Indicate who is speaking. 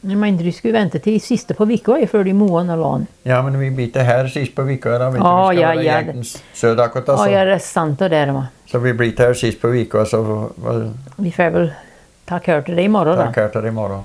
Speaker 1: Men du skulle vänta till sista på veckan før de måen og land.
Speaker 2: Ja, men vi blir inte här sist på veckan. då, vet du.
Speaker 1: Ja,
Speaker 2: vi ska
Speaker 1: ja,
Speaker 2: vara i
Speaker 1: ja.
Speaker 2: Jämtens Södakota.
Speaker 1: Ja,
Speaker 2: Så,
Speaker 1: ja, det er sant og det, da.
Speaker 2: så vi blir inte här sist på veckan så vad-
Speaker 1: Vi får vel ta kör til det i morgen, da.
Speaker 2: tackar till imorgon.